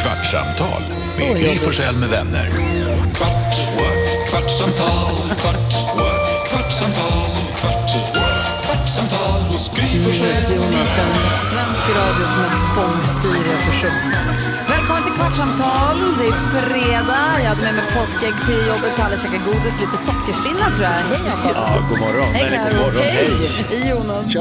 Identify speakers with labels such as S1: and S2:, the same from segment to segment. S1: Kvartsamtal med Gry Forssell med vänner. Kvart, what? kvartsamtal, kvart, what? kvartsamtal, kvart, what? kvartsamtal hos Gry Forssell med
S2: Jonas,
S1: vänner.
S2: den svensk radios mest bångstyriga person. Välkommen till Kvartsamtal. Det är fredag. Jag hade med mig påskägg till jobbet, så alla käkar godis. Lite sockerstinna tror jag. Hej Jakob.
S3: Ja, god morgon.
S2: Hej
S3: Nej,
S2: Karo.
S3: god morgon.
S2: Hej Hej, Jonas.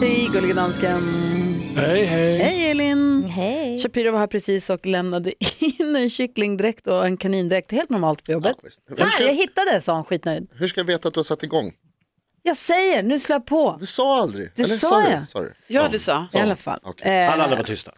S2: Hej gullige dansken.
S3: Hej, hej.
S2: Hej Elin.
S4: Hej.
S2: Shapiro var här precis och lämnade in en kycklingdräkt och en kanindräkt. Helt normalt på jobbet.
S5: visst. Jag
S2: här,
S5: ska-
S2: jag hittade, sa han skitnöjd.
S5: Hur ska jag veta att du har satt igång?
S2: Jag säger, nu slår jag på.
S5: Du sa aldrig.
S2: Det sa
S5: du?
S2: jag.
S5: Sa du?
S6: Ja, du sa.
S2: I alla fall.
S5: Okej.
S2: Eh,
S3: Alla andra var tysta.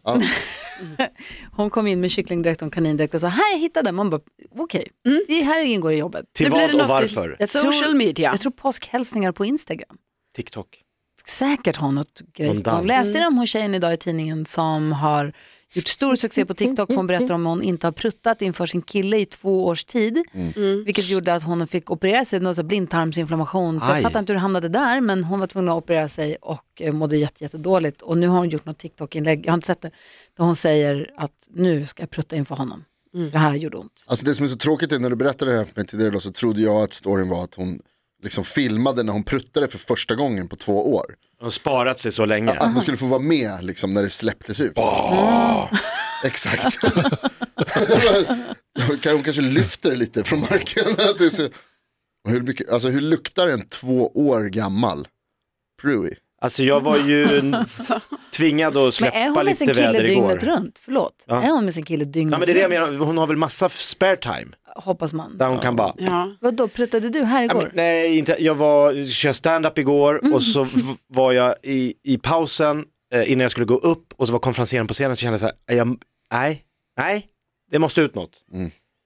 S2: Hon kom in med kycklingdräkt och kanindräkt och sa här hittade man bara okej, det här ingår i jobbet.
S3: Till
S6: Nu blir
S3: vad
S6: det
S3: och
S6: något i-
S3: varför?
S2: Jag tror-
S6: Mm. Social media.
S2: Jag tror påskhälsningar på Instagram.
S3: TikTok.
S2: Säkert har något grejs
S3: Någon
S2: på gång.
S3: dans.
S2: Läste ni om hon tjejen idag i tidningen som har gjort stor succé på TikTok för hon berättar om att hon inte har pruttat inför sin kille i två års tid.
S3: Mm.
S2: Vilket gjorde att hon fick operera sig, någon sån här blindtarmsinflammation. Så jag
S3: Aj.
S2: fattar inte hur det hamnade där men hon var tvungen att operera sig och eh, mådde jätte, jättedåligt. Och nu har hon gjort något TikTok-inlägg, jag har inte sett det, där hon säger att nu ska jag prutta inför honom. Det här gjorde ont.
S5: Alltså det som är så tråkigt är när du berättade det här för mig tidigare då, så trodde jag att storyn var att hon liksom filmade när hon pruttade för första gången på två år.
S3: De har sparat sig så länge.
S5: Att man skulle få vara med liksom när det släpptes ut. Ah. Exakt. hon kanske lyfter det lite från marken. Att det är så... Och hur, mycket, alltså, hur luktar en två år gammal Pruy?
S3: Alltså jag var ju n- tvingad att
S2: Alltså. Men är
S3: släppa
S2: hon med sin
S3: lite
S2: kille
S3: väder
S2: dygnet
S3: igår.
S2: runt? Förlåt. Är hon med sin kille dygnet
S3: Ja men det är det jag
S2: runt?
S3: menar, hon har väl massa f- spare time.
S2: Hoppas man.
S3: Där hon kan bara,
S6: Ja.
S2: Vadå, pruttade du här
S3: Ja,
S2: igår?
S3: men, nej inte, jag var, körde stand-up igår
S2: Mm.
S3: och så v- var jag i, i pausen eh, innan jag skulle gå upp och så var konferencieren på scenen så kände jag så här, jag, nej, nej, det måste ut något.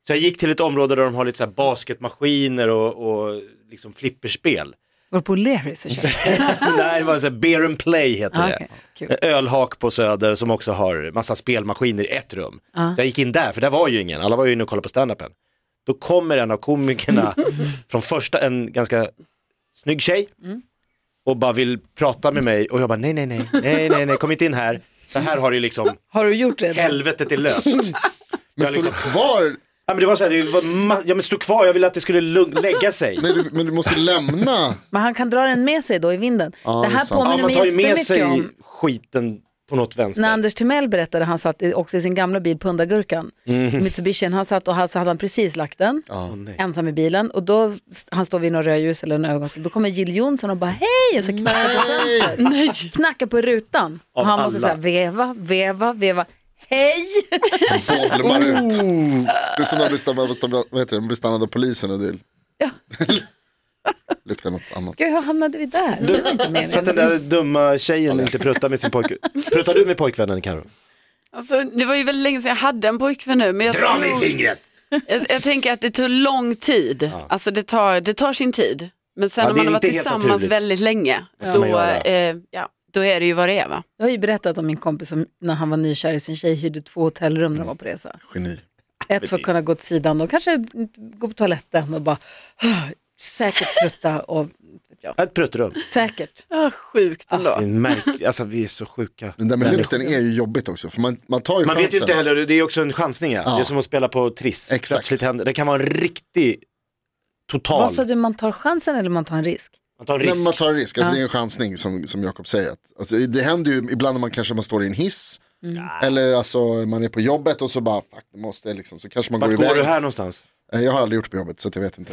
S3: Så jag gick till ett område där de har lite så här basketmaskiner och, och liksom flipperspel.
S2: Var på O'Learys och köpte?
S3: Nej, det var så här, beer and play heter
S2: Ah,
S3: det.
S2: okej. Kul.
S3: En Ölhak på Söder som också har massa spelmaskiner i ett rum.
S2: Ah.
S3: Så jag gick in där, för där var ju ingen, alla var ju inne och kollade på standupen. Då kommer en av komikerna från första, en ganska snygg tjej
S2: Mm.
S3: och bara vill prata med mig och jag bara nej, nej, nej, nej, nej, nej, kom inte in här. Det här har ju liksom,
S2: Har du gjort det?
S3: helvetet är löst.
S5: Men
S3: Jag
S5: står
S3: liksom-
S5: du kvar?
S3: Ja, men det var så här, det var ma- ja, men stod kvar, jag ville att det skulle lugn- lägga sig.
S5: Nej, du, men du måste lämna.
S2: Men han kan dra den med sig då i vinden. det
S5: det är
S2: här
S5: sant.
S3: Ja,
S2: påminner
S3: man
S2: mig
S3: tar ju med
S2: jättemycket
S3: sig
S2: om
S3: skiten på något vänster.
S2: när Anders Timell berättade, han satt i- också i sin gamla bil Pundagurkan,
S3: Mm.
S2: Mitsubishin, han satt och han, så hade han precis lagt den, ensam i bilen och då, han står vid något rödljus eller en övergångsställe, då kommer Jill Johnson och bara hej, och så knackar på fönstret.
S6: Nej.
S2: knackar på rutan och
S3: Av
S2: han måste
S3: alla.
S2: säga veva, veva, veva. Hej!
S5: bolmar ut. Det är som när de blir stannade, vad heter det, de blir stannade av polisen och du luktar något annat.
S2: Gud, hur hamnade vi där? Det var inte
S3: För att den
S2: meningen.
S3: där dumma tjejen inte pruttar med sin pojkvän. Pruttar du med pojkvännen Karo?
S6: Alltså, det var ju väldigt länge sedan jag hade en pojkvän nu. Men jag Dra tror,
S3: fingret!
S6: jag, jag tänker att det tog lång tid. Alltså det tar, det tar sin tid. Men sen
S3: Ja,
S6: om
S3: det är
S6: man har varit
S3: inte helt
S6: tillsammans
S3: naturligt.
S6: väldigt länge,
S3: ska
S6: då,
S3: man göra?
S6: eh, ja, då är det ju vad det är va?
S2: Jag har ju berättat om min kompis som när han var nykär i sin tjej hyrde två hotellrum när de var på resa.
S5: Geni.
S2: Ett för att kunna gå åt sidan och kanske gå på toaletten och bara säkert prutta och ja,
S3: Ett pruttrum.
S2: säkert.
S6: Ah, sjukt ändå.
S3: Det är en märk... Alltså vi är så sjuka.
S5: Den där med
S3: människor.
S5: lukten är ju jobbigt också för man, man tar ju
S3: Man vet ju
S5: chansen.
S3: inte heller, det är också en chansning ja.
S5: Ja.
S3: Det är som att spela på Triss.
S5: Exakt.
S3: Plötsligt händer, det kan vara en riktig total,
S2: Vad sa du, man tar chansen eller man tar en risk?
S3: man tar en
S5: Nej,
S3: risk.
S5: men man tar en risk, alltså, det är en chansning som, som Jakob säger. Att, alltså, det händer ju ibland när man kanske man står i en hiss eller alltså, man är på jobbet och så bara, fuck, nu måste jag liksom, så kanske man
S3: Vart
S5: går,
S3: går
S5: iväg.
S3: du här någonstans?
S5: Eh, Jag har aldrig gjort det på jobbet så att jag vet inte.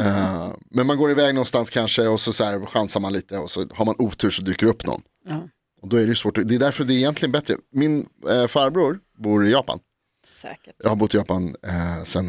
S5: Eh, men man går iväg någonstans kanske och så, så här, chansar man lite och så har man otur så dyker upp någon.
S2: Ja.
S5: Och då är det ju svårt, att- det är därför det är egentligen bättre. Min eh, farbror bor i Japan.
S2: Säkert.
S5: Jag har bott i Japan eh, sen,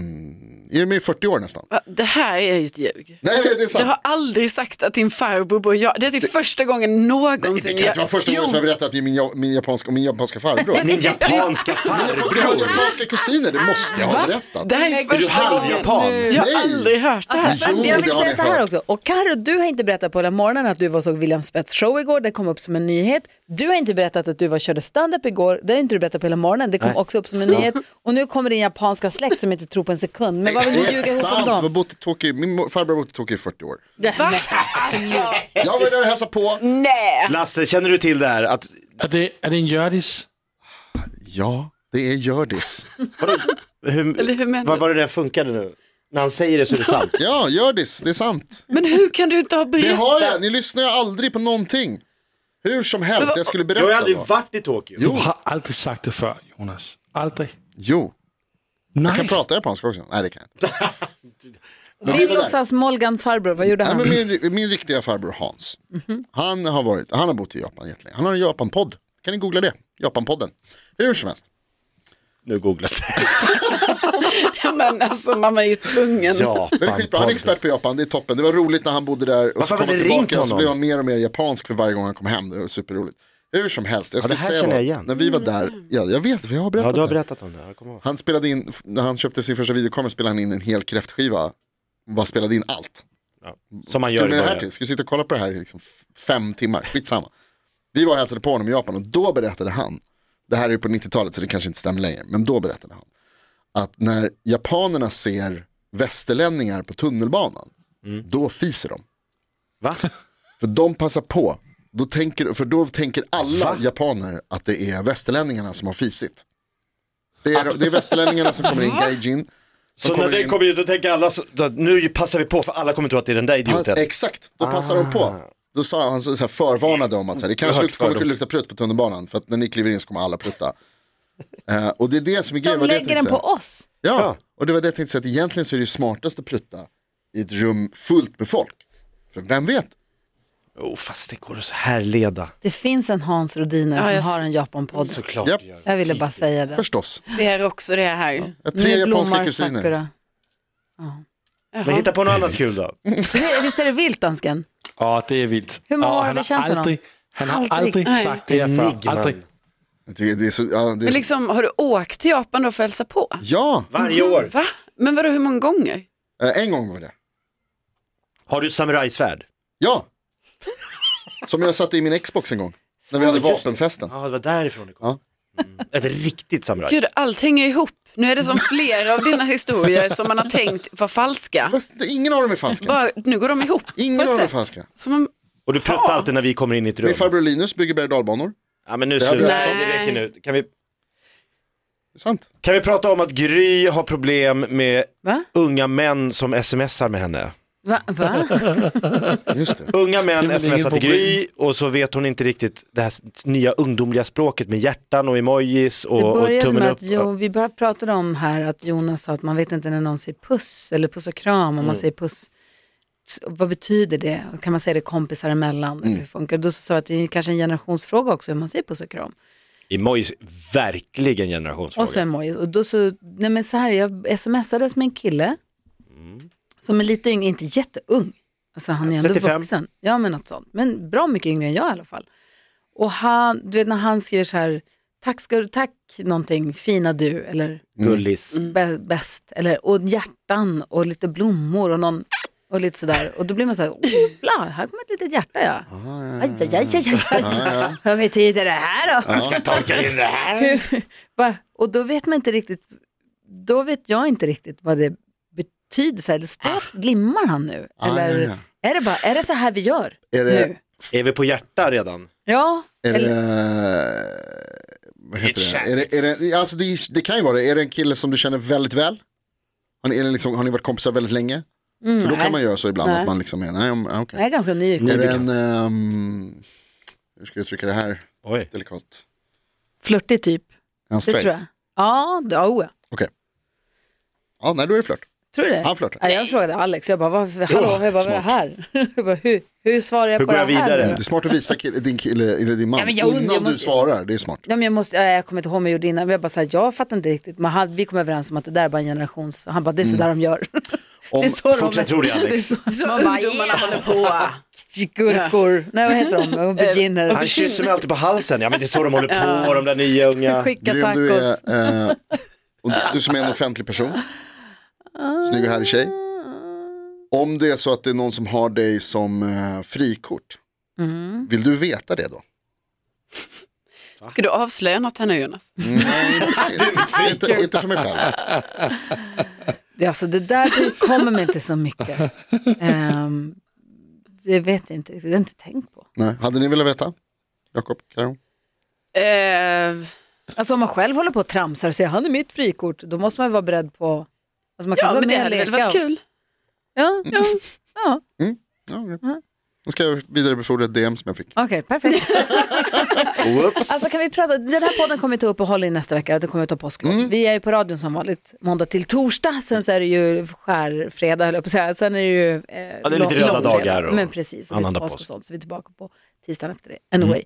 S5: jag är med i 40 år nästan.
S6: Va, Det här är ju ett ljug.
S5: Nej, nej det är
S6: Jag
S5: sant.
S6: har aldrig sagt att din farbror bor jag. Det är typ första gången någonsin.
S5: Det kan inte vara första gången som jag berättar att det är min, ja- min, japanska, om min japanska farbror.
S3: Min japanska
S5: Jag ska ha
S3: farbror!
S5: japanska kusiner, det måste jag ha berättat.
S6: Det här är
S3: Är du
S6: första gången.
S3: halvjapan?
S6: Jag har
S5: Nej.
S6: aldrig hört det här.
S5: Jo,
S2: Alltså, jag vill
S5: det har
S2: säga
S5: ni
S2: så här
S5: hört.
S2: också, och Karo, du har inte berättat på hela morgonen att du var och såg William Spets show igår, det kom upp som en nyhet. Du har inte berättat att du var och körde stand-up igår, det har inte du berättat på hela morgonen, det kom också upp som en nyhet. Och nu kommer din japanska släkt som inte tror på en sekund, men vad vill
S5: Det
S2: du
S5: är
S2: ljuga ihop om
S5: sant, jag har
S2: dem?
S5: bott i Tokyo, min mo- farbror har bott i Tokyo i 40 år.
S6: Va?
S5: Jag var där och hälsade på.
S3: Mm.
S6: Nej.
S3: Lasse, känner du till det här? Att,
S7: Er det, er det en Hjørdis?
S5: Ja, Det är Hjördis.
S3: Hur,
S6: Eller hur menar
S3: vad
S6: du?
S3: var det där funkade nu? När han säger det så är det sant.
S5: Ja, Hjördis, det är sant.
S6: Men hur kan du inte ha
S5: Det
S6: berättat?
S5: har jag, ni lyssnar ju aldrig på någonting. Hur som helst, jag skulle
S3: Jag har ju
S5: berätta
S3: aldrig
S5: då.
S3: varit i Tokyo.
S5: Jo,
S4: Du har aldrig sagt det før, Jonas. Aldrig.
S5: jo.
S4: Nej.
S5: Jag kan prata japanska också. Nej, det kan jag inte.
S2: Din låtsas Molgan farbror, vad gjorde
S5: Nej,
S2: han?
S5: men min, min riktiga farbror Hans,
S3: Mhm.
S5: han, har varit, han har bott i Japan jättelänge. Han har en Japanpodd. Kan ni googla det? Japanpodden. Hur som helst.
S3: Nu googlas det.
S6: Men alltså man är ju tvungen.
S5: Men det är skitbra. Han är expert på Japan, det är toppen. Det var roligt när han bodde där och
S3: Varför
S5: så
S3: har
S5: kom han
S3: vi ringt
S5: tillbaka och så
S3: honom?
S5: blev han mer och mer japansk för varje gång han kom hem. Det var superroligt. Hur som helst, jag
S3: Ja, det
S5: skulle
S3: här
S5: säga
S3: känner jag
S5: vad-
S3: igen.
S5: när vi var där, ja jag vet, vi har berättat
S3: Ja, du har
S5: det här.
S3: berättat om det. Jag kommer ihåg.
S5: Han spelade in, f- när han köpte sin första videokamera spelade han in en hel kräftskiva. Bara spelade in allt.
S3: Som man
S5: Skulle
S3: gör i
S5: med det här
S3: början.
S5: till? Skulle sitta och kolla på det här i liksom f- fem timmar, skitsamma. Vi var och hälsade på honom i Japan och då berättade han, det här är ju på 90-talet så det kanske inte stämmer längre, men då berättade han att när japanerna ser västerlänningar på tunnelbanan,
S3: Mm.
S5: då fiser de.
S3: Va?
S5: För de passar på, då tänker, för då tänker alla japaner att det är västerlänningarna som har fisit. Det är, det är västerlänningarna som kommer in, gaijin. som
S3: Så när
S5: kommer
S3: den
S5: in-
S3: kommer ut så tänker alla, så, då- nu passar vi på för alla kommer tro att det är den där
S5: Han,
S3: idioten.
S5: exakt, då passar de på.
S2: Ah.
S5: Då sa han så så här, förvarnade om att så här, det kanske
S3: hört
S5: luktar, kommer att
S3: fördoms-
S5: lukta prutt på tunnelbanan för att när ni kliver in så kommer alla prutta. Eh, och det är det som är
S2: De
S5: grejen. vad det jag
S2: lägger
S5: tänkte
S2: den på
S5: säga.
S2: oss.
S5: Ja, och det var det jag tänkte säga att egentligen så är det ju smartast att prutta i ett rum fullt med folk. För vem vet?
S3: Oh, fast det går att så här leda.
S2: Det finns en Hans Rodiner
S6: Ja,
S2: som
S6: jag
S2: har en Japan-podd.
S3: Såklart.
S5: Japp.
S3: gör det.
S2: Jag ville bara säga det.
S5: Förstås.
S6: Ser också det här.
S5: Jag har tre
S2: Nu blommar
S5: japanska kusiner.
S2: sakura.
S3: Men hitta på något annat kul då.
S2: Det- Visst är det vilt, dansken?
S4: Åh, det er vildt.
S2: Hvor mange
S4: Åh,
S2: år har
S4: han
S2: vi kendt
S4: har
S2: hinanden?
S4: aldrig, han har
S2: Aldrig.
S4: aldrig
S6: Nej.
S4: sagt det her før.
S3: Enigman.
S4: Aldrig.
S5: Jag tycker Det är så, ja, det är
S6: Men
S5: så,
S6: liksom, har du åkt till Japan då för att hälsa på?
S5: ja
S3: Varje år.
S6: Va? Men vadå, hur många gånger?
S5: eh, en gång var det.
S3: Har du samurajsvärd?
S5: Ja. Som jag satte i min Xbox en gång. När vi hade vapenfesten.
S3: Ja, det var därifrån det kom. Mm. Ett riktigt samuraj.
S6: Gud, allt hänger ihop. Nu är det som flera av dina historier som man har tänkt var falska.
S5: Fast det- Ingen av dem är falska.
S6: Bara, nu går de ihop.
S5: Ingen
S6: på
S5: av
S6: ett
S5: dem är
S6: sätt.
S5: falska.
S6: Som om,
S3: Och du pruttar alltid när vi kommer in i ett rum.
S5: Min farbror Linus bygger berg och dalbanor.
S3: Ja, men nu
S5: Det här
S3: slutar
S6: blir-
S3: det. Det räcker nu. Kan vi,
S5: Det är sant.
S3: kan vi prata om att Gry har problem med
S2: Va?
S3: unga män som smsar med henne?
S2: Va? Va?
S5: Just det.
S3: Unga
S4: Det är
S3: män
S4: väl
S3: smsar till
S4: ingen
S3: Gry och så vet hon inte riktigt det här s- nya ungdomliga språket med hjärtan och emojis
S2: Det
S3: och, och
S2: började
S3: tummen
S2: med
S3: upp.
S2: att jo, vi bara pratade om här att Jonas sa att man vet inte när någon säger puss eller puss och kram om
S3: Mm.
S2: man säger puss. S- Vad betyder det? Kan man säga det kompisar emellan?
S3: Mm.
S2: Eller hur funkar det? Då så sa jag att det är kanske en generationsfråga också hur man säger puss och kram.
S3: Emojis, verkligen
S2: Och så
S3: generationsfråga.
S2: emojis. Och då så, nej men så här, jag smsades med en kille som är lite yngre, inte jätteung. Alltså han är ändå
S3: 35.
S2: vuxen. Ja men något sånt. Men bra mycket yngre än jag i alla fall. Och han, du vet när han skriver så här, tack, ska, du- tack någonting, fina du, eller
S3: Mm. Gullis.
S2: bä- bäst, eller, och hjärtan och lite blommor och någon och lite sådär. Och då blir man såhär, oh, här kommer ett litet hjärta Ah, ja. Aj, aj, aj, aj, aj. Vad betyder det här då?
S3: Ska tolka in det här.
S2: Va? Och då vet man inte riktigt, då vet jag inte riktigt vad det betyder. Så här, det står, glimmar han nu?
S5: Ah,
S2: Eller
S5: ja,
S2: är det bara, är det så här vi gör
S5: Är
S2: nu?
S5: det,
S3: Är vi på hjärta redan?
S2: Ja,
S5: är
S2: eller,
S5: det, vad heter
S3: Hitchhikes.
S5: det? Är det, är det alltså det, är- det kan ju vara det. Är det en kille som du känner väldigt väl? Har ni, är det liksom, har ni varit kompisar väldigt länge? För då
S2: Mm, nej.
S5: kan man göra så ibland
S2: Nej.
S5: att man liksom är, nej, om- ah, okej.
S2: jag är ganska ny.
S5: Är det en, ehm, hur ska jag uttrycka det här
S3: Oj.
S5: delikat?
S2: Flörtig typ,
S5: Är han
S2: det
S5: straight?
S2: tror jag. Ja, det, oh, ja.
S5: Okej. Ja, nej då är det flört.
S2: Tror du det?
S5: Han flörtar.
S2: Ja, jag frågade Alex, jag bara, varför, hallå, jag bara, vad är det här? Jag bara, hur, hur svarar jag
S3: Hur
S2: på
S3: går jag
S2: det här?
S3: vidare?
S2: nu?
S5: Det är smart att visa kill, din kille, eller din man,
S2: Ja, men jag undrar,
S5: innan
S2: jag
S5: du
S2: måste-
S5: svarar. Det är smart.
S2: Ja, men jag, måste, ja, jag kommer inte ihåg vad jag gjorde innan, men jag bara, så här, jag fattar inte riktigt. Men han, vi kom överens om att det där är bara en generations... Han bara, det är
S5: Mm.
S2: så där de gör. det är så de-
S3: fortsätt tro det, Alex.
S2: är så,
S6: så
S2: man bara,
S6: ungdomarna
S2: yeah.
S6: håller på.
S2: Gurkor, nej vad heter de? Auberginer,
S3: Han kysser mig alltid på halsen. Ja men det är så de håller på, de där nya unga.
S2: skicka
S5: Grym du är,
S2: tacos.
S5: eh, och du som är en offentlig person, snygg och härlig tjej. Om det är så att det är någon som har dig som eh, frikort, vill du veta det då?
S6: Ska du avslöja något här nu Jonas?
S5: inte, inte för mig själv.
S2: Det, alltså, det där det kommer mig inte så mycket. Ehm, det vet jag inte riktigt, det har jag inte tänkt på.
S5: Nej. Hade ni velat veta? Jakob, Karin?
S6: Eh,
S2: Alltså om man själv håller på och tramsar och säger han är mitt frikort, då måste man ju vara beredd på... Alltså man kan
S6: Ja,
S2: inte vara
S6: men det
S2: med och
S6: hade väl
S2: leka.
S6: varit kul.
S2: Ja, ja.
S3: Mm.
S2: ja.
S5: Ja, okej. Då ska jag vidarebefordra ett DM som jag fick.
S2: okej, perfekt.
S3: Whoops.
S2: Alltså kan vi prata, den här podden kommer vi ta upp och hålla i nästa vecka, det kommer vi ta påsklov.
S3: Mm.
S2: Vi är ju på radion som vanligt, måndag till torsdag, sen så är det ju skärfredag höll jag på att säga, sen är det ju eh,
S3: Ja, det är
S2: lång-
S3: lite röda
S2: långfredag.
S3: dagar och
S2: Men precis, och lite
S3: annandag
S2: påsk och
S3: påsk.
S2: sånt, så vi är tillbaka på tisdagen efter det, anyway.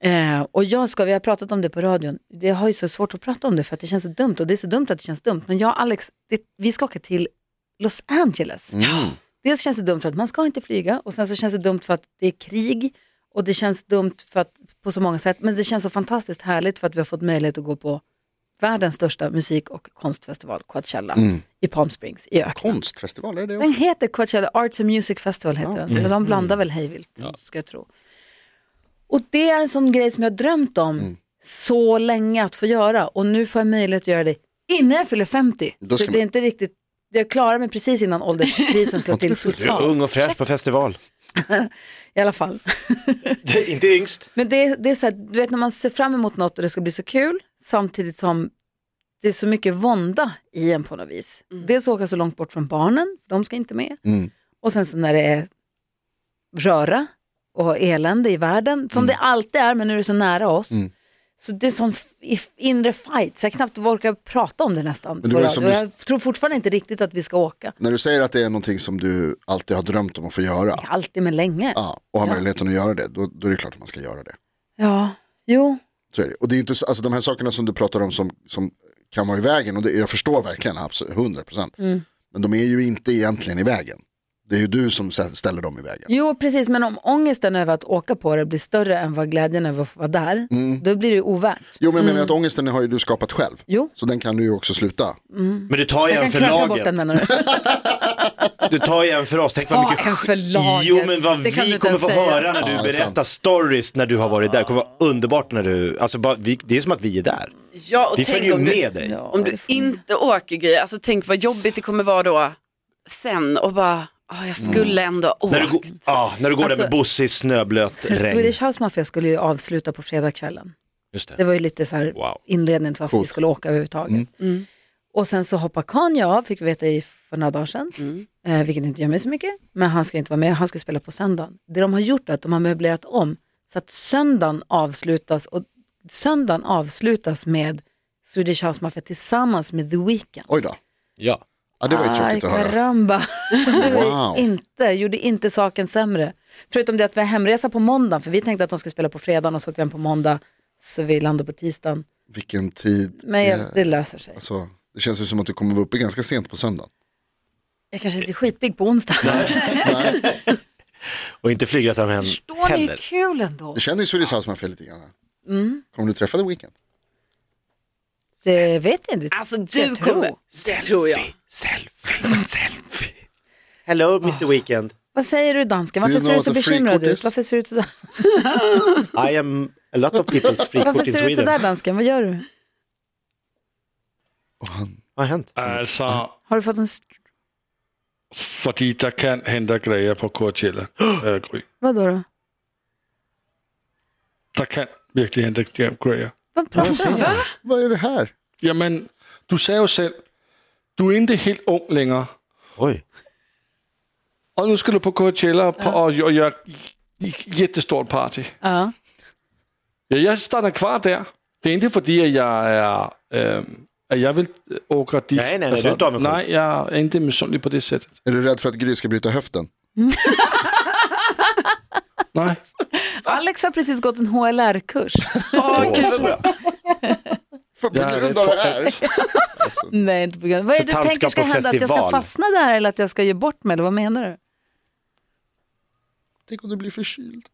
S2: Eh, och jag ska, vi har pratat om det på radion, det har ju så svårt att prata om det för att det känns så dumt och det är så dumt att det känns dumt, men jag och Alex, det, vi ska åka till Los Angeles. Dels känns det dumt för att man ska inte flyga och sen så känns det dumt för att det är krig och det känns dumt för att, på så många sätt. Men det känns så fantastiskt härligt för att vi har fått möjlighet att gå på världens största musik och konstfestival, Coachella, i Palm Springs i öknen.
S5: Konstfestival, är det
S2: Den
S5: också?
S2: heter Coachella, Arts and Music Festival heter den.
S5: Mm.
S2: Så de blandar väl hejvilt, ska jag tro. Och det är en sån grej som jag har drömt om
S5: Mm.
S2: så länge att få göra. Och nu får jag möjlighet att göra det innan jag fyller 50.
S5: Då
S2: Så
S5: ska
S2: det är
S5: man-
S2: inte riktigt, jag klarar mig precis innan ålderskrisen slår till
S3: Du är ung
S2: totalt.
S3: och fräsch på festival.
S2: I alla fall.
S3: Inte yngst.
S2: Men det, det är så här, du vet när man ser fram emot något och det ska bli så kul samtidigt som det är så mycket vånda i en på något vis. Dels åka så långt bort från barnen, för de ska inte med.
S5: Mm.
S2: Och sen så när det är röra och elände i världen,
S5: Mm.
S2: som det alltid är men nu är det så nära oss. Så det är sån f- if- inre fight, så jag knappt orkar prata om det nästan.
S5: Men det
S2: på
S5: var ju
S2: radio.
S5: som
S2: Och
S5: du-
S2: Jag tror fortfarande inte riktigt att vi ska åka.
S5: När du säger att det är någonting som du alltid har drömt om att få göra
S2: Alltid men länge. Ja.
S5: ja, och har möjligheten att göra det, då, då är det klart att man ska göra det.
S2: jo.
S5: Så är det. Och det är inte, så- alltså, de här sakerna som du pratar om som, som kan vara i vägen, och det, jag förstår verkligen, absolut, 100 procent.
S2: Mm.
S5: Men de är ju inte egentligen i vägen. Det är ju du som sä- ställer dem i vägen.
S2: Jo, precis, men om ångesten över att åka på det blir större än vad glädjen över att få vara där,
S3: Mm.
S2: då blir det ju ovärt.
S5: Jo men jag menar att ångesten har ju du skapat själv.
S2: Mm. Jo. Mm.
S5: Så den kan du ju också sluta.
S3: Men du tar ju
S2: Jag
S3: en
S2: kan
S3: för
S2: knacka bort den
S3: laget.
S2: menar du?
S3: Du tar ju en för oss. Tänk vad
S2: Ta
S3: mycket
S2: en för laget.
S3: Jo men vad
S2: Det kan du
S3: vi
S2: inte
S3: kommer
S2: ens
S3: få
S2: säga.
S3: höra när du
S5: Ja, det är
S3: berättar stories när du har varit där. Det kommer vara underbart när du, alltså bara, vi, det är som att vi är där.
S6: Ja, och
S3: Vi
S6: tänk
S3: följer ju
S6: om du,
S3: med dig.
S2: Ja,
S6: om du
S2: det får-
S6: inte åker grejer, alltså tänk vad jobbigt det kommer vara då sen och bara, ah, jag skulle ändå ha åkt.
S3: Mm. När du, går- ja, när du går
S2: Alltså-
S3: där med Bosse i snöblöt regn.
S2: Swedish House Mafia skulle ju avsluta på fredagskvällen.
S3: Just det.
S2: Det var ju lite så här
S3: Wow. Mm.
S2: inledningen till varför vi skulle åka överhuvudtaget. Mm. Och sen så hoppar Kanye av, fick vi veta i för några dagar sedan, eh, vilket inte gör mig så mycket. Men han ska inte vara med, han ska spela på söndagen. Det de har gjort är att de har möblerat om så att söndagen avslutas och söndagen avslutas med Swedish House Mafia tillsammans med The Weeknd.
S5: Oj då.
S3: Ja.
S5: Ja, det var ju
S2: Aj,
S5: tråkigt att höra.
S2: caramba. Det var
S5: Wow.
S2: ju inte, gjorde inte saken sämre. Förutom det att vi har hemresa på måndag, för vi tänkte att de skulle spela på fredagen och så åker vi hem på måndag, så vi landar på tisdagen.
S5: Vilken tid.
S2: Men jag,
S5: det,
S2: det löser sig.
S5: alltså, det känns ju som att du kommer vara uppe ganska sent på söndagen.
S2: Jag kanske inte är skitpigg på onsdag.
S3: Och inte flygresan hem
S2: Förstår ni hur
S3: heller.
S2: kul ändå?
S5: Du känner ju Swedish House Mafia lite grann.
S2: Mm.
S5: Kommer du träffa The Weeknd?
S2: Det vet jag inte.
S6: Alltså
S2: Jag
S6: du
S2: tror.
S6: kommer, det tror jag.
S3: Selfie, selfie. Hello Mr Weekend.
S2: Vad säger du dansken?
S5: Do you
S2: Varför ser du
S5: know
S2: så
S5: what a
S2: bekymrad
S5: frikort
S2: ut?
S5: is?
S2: Varför ser du ut sådär?
S3: I am a lot of people's frikort
S2: Varför
S3: in
S2: ser du ut sådär
S3: Sweden.
S2: dansken? Vad gör du?
S3: Vad har hänt?
S4: Altså,
S2: Har du fått en... st-
S4: fordi der kan hente grejer på Coachella, øh, Gry.
S2: Vadå då?
S4: Der kan virkelig hente grejer.
S2: Vad pratar du om?
S5: Vad är det här?
S4: Jamen, du sagde jo selv, du er ikke helt ung længere.
S3: Oj.
S4: Og nu skal du på Coachella og, på, og, og gøre jättestort party.
S2: Ja.
S4: Ja, jeg starter kvar der. Det er ikke fordi, at jeg er... øhm, at jeg vil øh, åkre dit.
S3: Nej, nej, nej, du er ikke dommer.
S4: nej, jeg er ikke misundelig på det sæt.
S5: Är du rädd för att Gry ska bryta höften?
S4: Nej.
S2: Alex har precis gått en HLR-kurs.
S6: Åh, gud, vad bra.
S5: För på
S4: Jeg er
S5: grund
S4: rädd
S5: av det
S4: for
S5: här? Alltså,
S4: alt.
S2: Nej, inte på grund Vad är det du
S3: För
S2: tänker ska
S3: tantskap och
S2: hända? Att jag ska
S3: festival.
S2: fastna där eller att jag ska ge bort mig? Eller vad menar du?
S5: Tänk om du blir förkyld.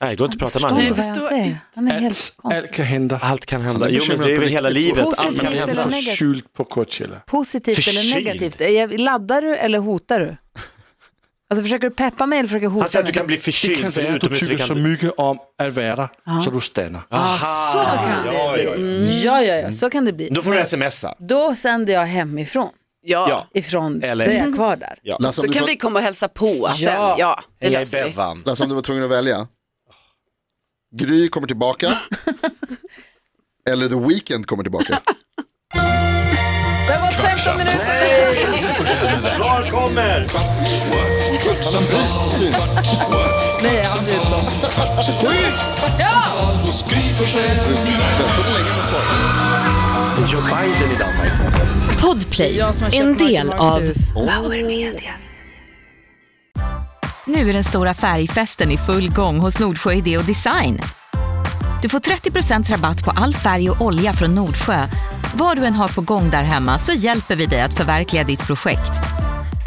S3: Nej, du har inte pratat med
S2: Förstår du
S3: honom.
S2: vad han
S6: förstår
S2: säger? Han är helt
S4: Alt,
S2: konstig.
S4: alt kan hente.
S3: Allt kan hända.
S5: Han är
S3: Jo men
S5: bekymrad
S3: det är
S5: på
S3: väl hela
S5: riktigt.
S3: livet. Allt
S2: Positivt
S3: kan
S2: eller
S3: hända.
S2: negativt?
S4: Sylt på Coachella.
S2: Positivt
S3: Förkyld.
S2: eller negativt? Är jag- Laddar du eller hotar du? Alltså försöker du peppa mig eller försöker du hota
S3: Han säger Alltså, att
S2: mig?
S3: du kan bli
S4: Det
S3: förkyld
S4: kan
S3: för
S4: være, du
S3: utomhus. Vi
S4: tykker så
S3: kan...
S4: mycket om at være der, så du stander.
S2: Så kan det bli. Mm. Ja, ja, ja, så kan det bli.
S3: Då får Mm. du smsa.
S2: Då sänder jag hemifrån,
S6: Ja,
S3: Ja.
S2: ifrån
S3: Eller-
S2: där jag är kvar där.
S3: Ja.
S5: Lasse, om
S6: så
S5: du,
S6: kan
S5: får,
S6: vi komma och hälsa på sen.
S2: Ja.
S6: Ja, det
S3: Heja i
S6: löser vi.
S3: Bevan.
S5: Lasse, om du var tvungen att välja. Gry kommer tillbaka. Eller The Weeknd kommer tillbaka.
S2: Det har gått 15 minuter.
S3: Svar kommer!
S1: Kvart, what? kvartsamtal, kvart, what?
S2: Nej, han ser ut som.
S1: kvartsamtal hos Gry Forssell med vänner.
S3: Joe Biden i Danmark.
S7: Podplay,
S2: Jag som har köpt
S7: en del
S2: Mark Marks
S7: av
S2: hus.
S8: Nu är den stora färgfesten i full gång hos Nordsjö Idé och Design. Du får 30 rabatt på all färg och olja från Nordsjö. Vad du än har på gång där hemma så hjälper vi dig att förverkliga ditt projekt.